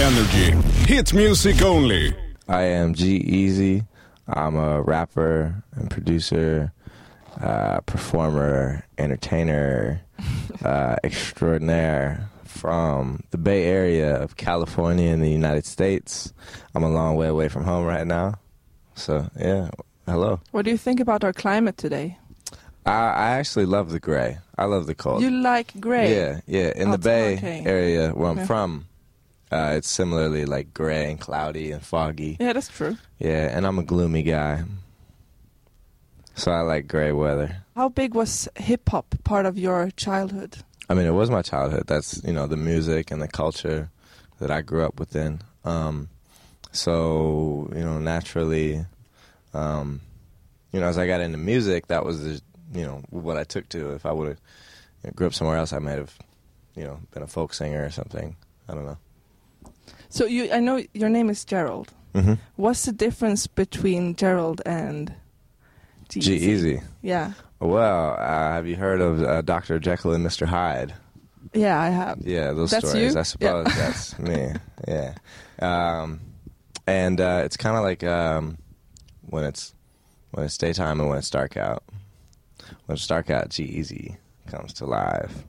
Energy. Hit music only. I am G Easy. I'm a rapper and producer, uh, performer, entertainer, uh, extraordinaire from the Bay Area of California in the United States. I'm a long way away from home right now. So, yeah, hello. What do you think about our climate today? I, I actually love the gray. I love the cold. You like gray. Oh, Yeah, yeah. In the That's Bay okay. Area where I'm Yeah. from, uh, it's similarly like gray and cloudy and foggy. Yeah, that's true. Yeah, and I'm a gloomy guy. So I like gray weather. How big was hip hop part of your childhood? I mean, it was my childhood. That's, you know, the music and the culture that I grew up within. Um, so, you know, naturally, um, you know, as I got into music, that was, the, you know, what I took to. If I would have you know, grew up somewhere else, I might have, you know, been a folk singer or something. I don't know. So you, I know your name is Gerald. Mm-hmm. What's the difference between Gerald and G G Easy. Yeah, Well, uh, have you heard of uh, Dr. Jekyll and Mr. Hyde? yeah, I have. Yeah, those That's stories. you? I suppose that's me. Yeah, um, and uh, it's kind of like um, when it's when it's daytime and when it's dark out. When it's dark out, G Easy comes to life.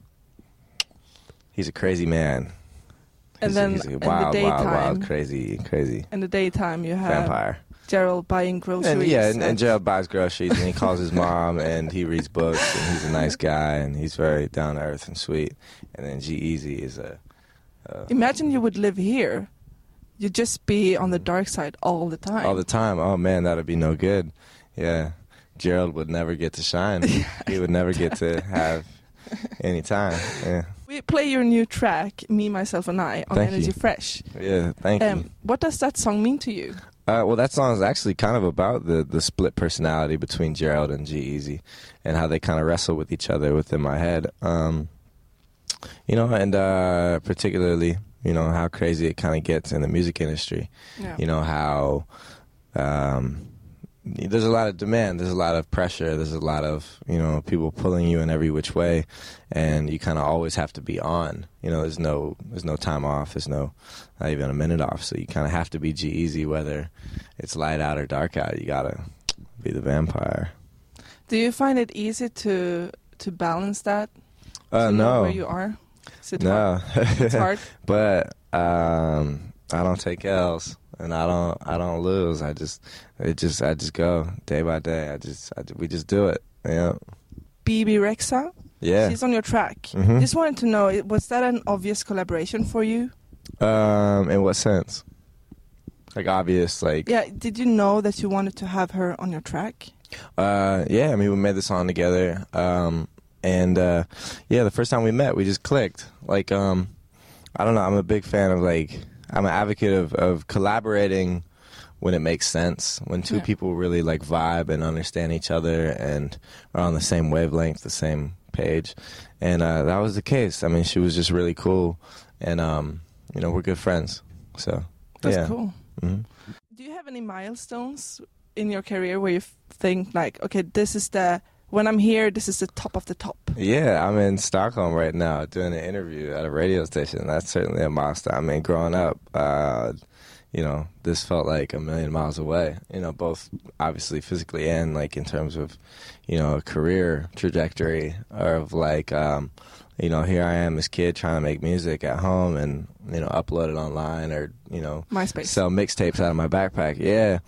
He's a crazy man. He's And a- then he's a in the wild, wild, wild, daytime- crazy, crazy In the daytime, you have vampire. Gerald buying groceries. And yeah, and, and Gerald buys groceries and he calls his mom and he reads books and he's a nice guy and he's very down to earth and sweet. And then G Easy is a Imagine you would live here. You'd just be on the dark side all the time. all the time. Oh man, that'd be no good. Yeah, Gerald would never get to shine. he would never get to have any time. Yeah, we play your new track, Me, Myself, and I, on Thank Energy you. Fresh. yeah. Thank you. Um, what does that song mean to you? Uh, well, that song is actually kind of about the the split personality between Gerald and G Easy, and how they kind of wrestle with each other within my head. Um, you know, and uh, particularly, you know, how crazy it kind of gets in the music industry. you know how um, there's a lot of demand there's a lot of pressure there's a lot of you know people pulling you in every which way and you kind of always have to be on you know there's no there's no time off there's no not even a minute off so you kind of have to be g easy whether it's light out or dark out you gotta be the vampire Do you find it easy to to balance that? uh to know where no you are. Is it hard? no It's hard. but um, I don't take L's and I don't I don't lose. I just it just I just go day by day. I just I, we just do it. Yeah, BB Rexa, yeah. she's on your track. Mhm. Just wanted to know, i- was that an obvious collaboration for you? Um, in what sense? Like obvious, like Yeah. Did you know that you wanted to have her on your track? Uh, yeah, I mean, we made the song together. Um, and uh, yeah, the first time we met, we just clicked. Like, um, I don't know. I'm a big fan of like, I'm an advocate of, of collaborating when it makes sense, when two Yeah. people really like vibe and understand each other and are on the same wavelength, the same page. And uh, that was the case. I mean, she was just really cool. And, um, you know, we're good friends. So, That's yeah. cool. Mhm. Do you have any milestones in your career where you f- think like, okay, this is the when I'm here, this is the top of the top. Yeah, I'm in Stockholm right now doing an interview at a radio station. That's certainly a milestone. I mean, growing up, uh, you know, this felt like a million miles away. You know, both obviously physically and like in terms of, you know, a career trajectory or of like, um, you know, here I am, this kid trying to make music at home and you know, upload it online or you know, MySpace. sell mixtapes out of my backpack. Yeah.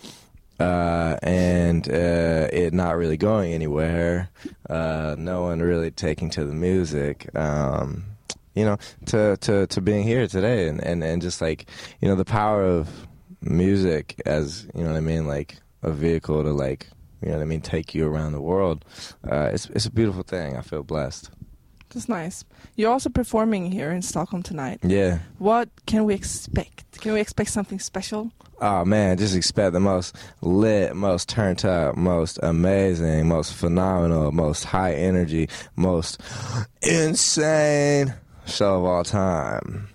Uh, and uh, it not really going anywhere. Uh, no one really taking to the music. Um, you know, to, to, to being here today and, and, and just like, you know, the power of music as, you know what I mean, like a vehicle to like, you know what I mean, take you around the world. Uh, it's, it's a beautiful thing. I feel blessed. That's nice. You're also performing here in Stockholm tonight. Yeah. What can we expect? Can we expect something special? Oh man, just expect the most lit, most turned up, most amazing, most phenomenal, most high energy, most insane show of all time.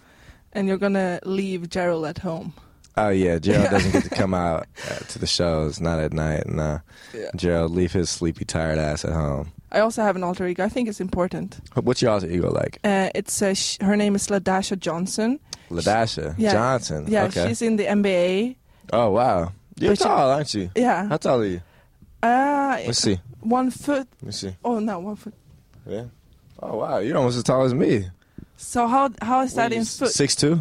And you're gonna leave Gerald at home. Oh yeah, Gerald doesn't get to come out uh, to the shows, not at night. Nah, Yeah. Gerald, leave his sleepy, tired ass at home. I also have an alter ego. I think it's important. What's your alter ego like? Uh, it's uh, sh- her name is Ladasha Johnson. Ladasha yeah. Johnson. Yeah, okay. she's in the NBA. oh wow, you're But she- tall, aren't you? Yeah. How tall are you? Uh, Let's see. one foot. Let me see. Oh no, one foot. Yeah. Oh wow, you're almost as tall as me. So how how is that in foot? Six two.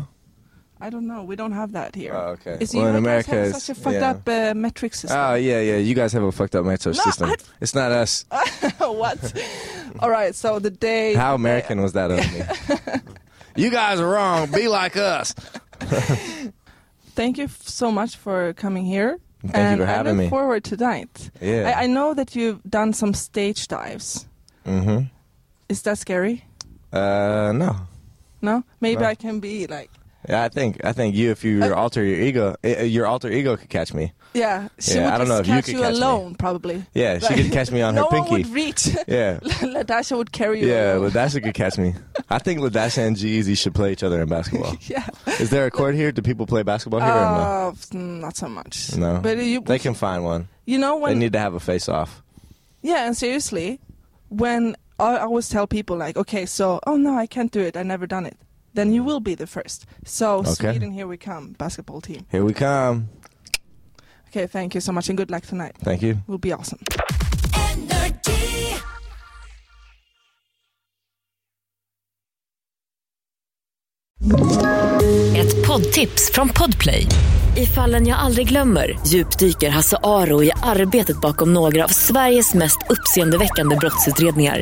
I don't know. We don't have that here. Oh okay. Is well, you in guys America, have it's- such a fucked yeah. up uh, metric system. Oh yeah, yeah. You guys have a fucked up metro No, system. I- It's not us. what? All right. So the day. How American was that of me? you guys are wrong. Be like us. Thank you f- so much for coming here. Thank and you for I having look me. forward to tonight. yeah. I, I know that you've done some stage dives. mm-hmm. Is that scary? Uh, no. No. Maybe No. I can be like. Yeah, I think I think you, if you I- alter your ego, i- uh, your alter ego could catch me. Yeah. She Yeah, would I don't know if just you catch could you catch me. alone, probably. Yeah, she could catch me on no her one pinky. would reach. yeah, Ladasha would carry you. yeah, along. Ladasha could catch me. I think Ladasha and G-Eazy should play each other in basketball. yeah. Is there a court here? Do people play basketball here or Uh, mm, not so much. no? No, But you, they can find one. you know They when? need to have a face-off. yeah, and seriously, when I always tell people like, okay, so oh no, I can't do it. I never done it. Then you will be the first. So Okay. Sweden, here we come, basketball team. Here we come. Okay, thank you so much and good luck tonight. Thank you. Will be awesome. Energy. Ett poddtips från Podplay. I fallen jag aldrig glömmer djupdyker Hasse Aro i arbetet bakom några av Sveriges mest uppseendeväckande brottsutredningar.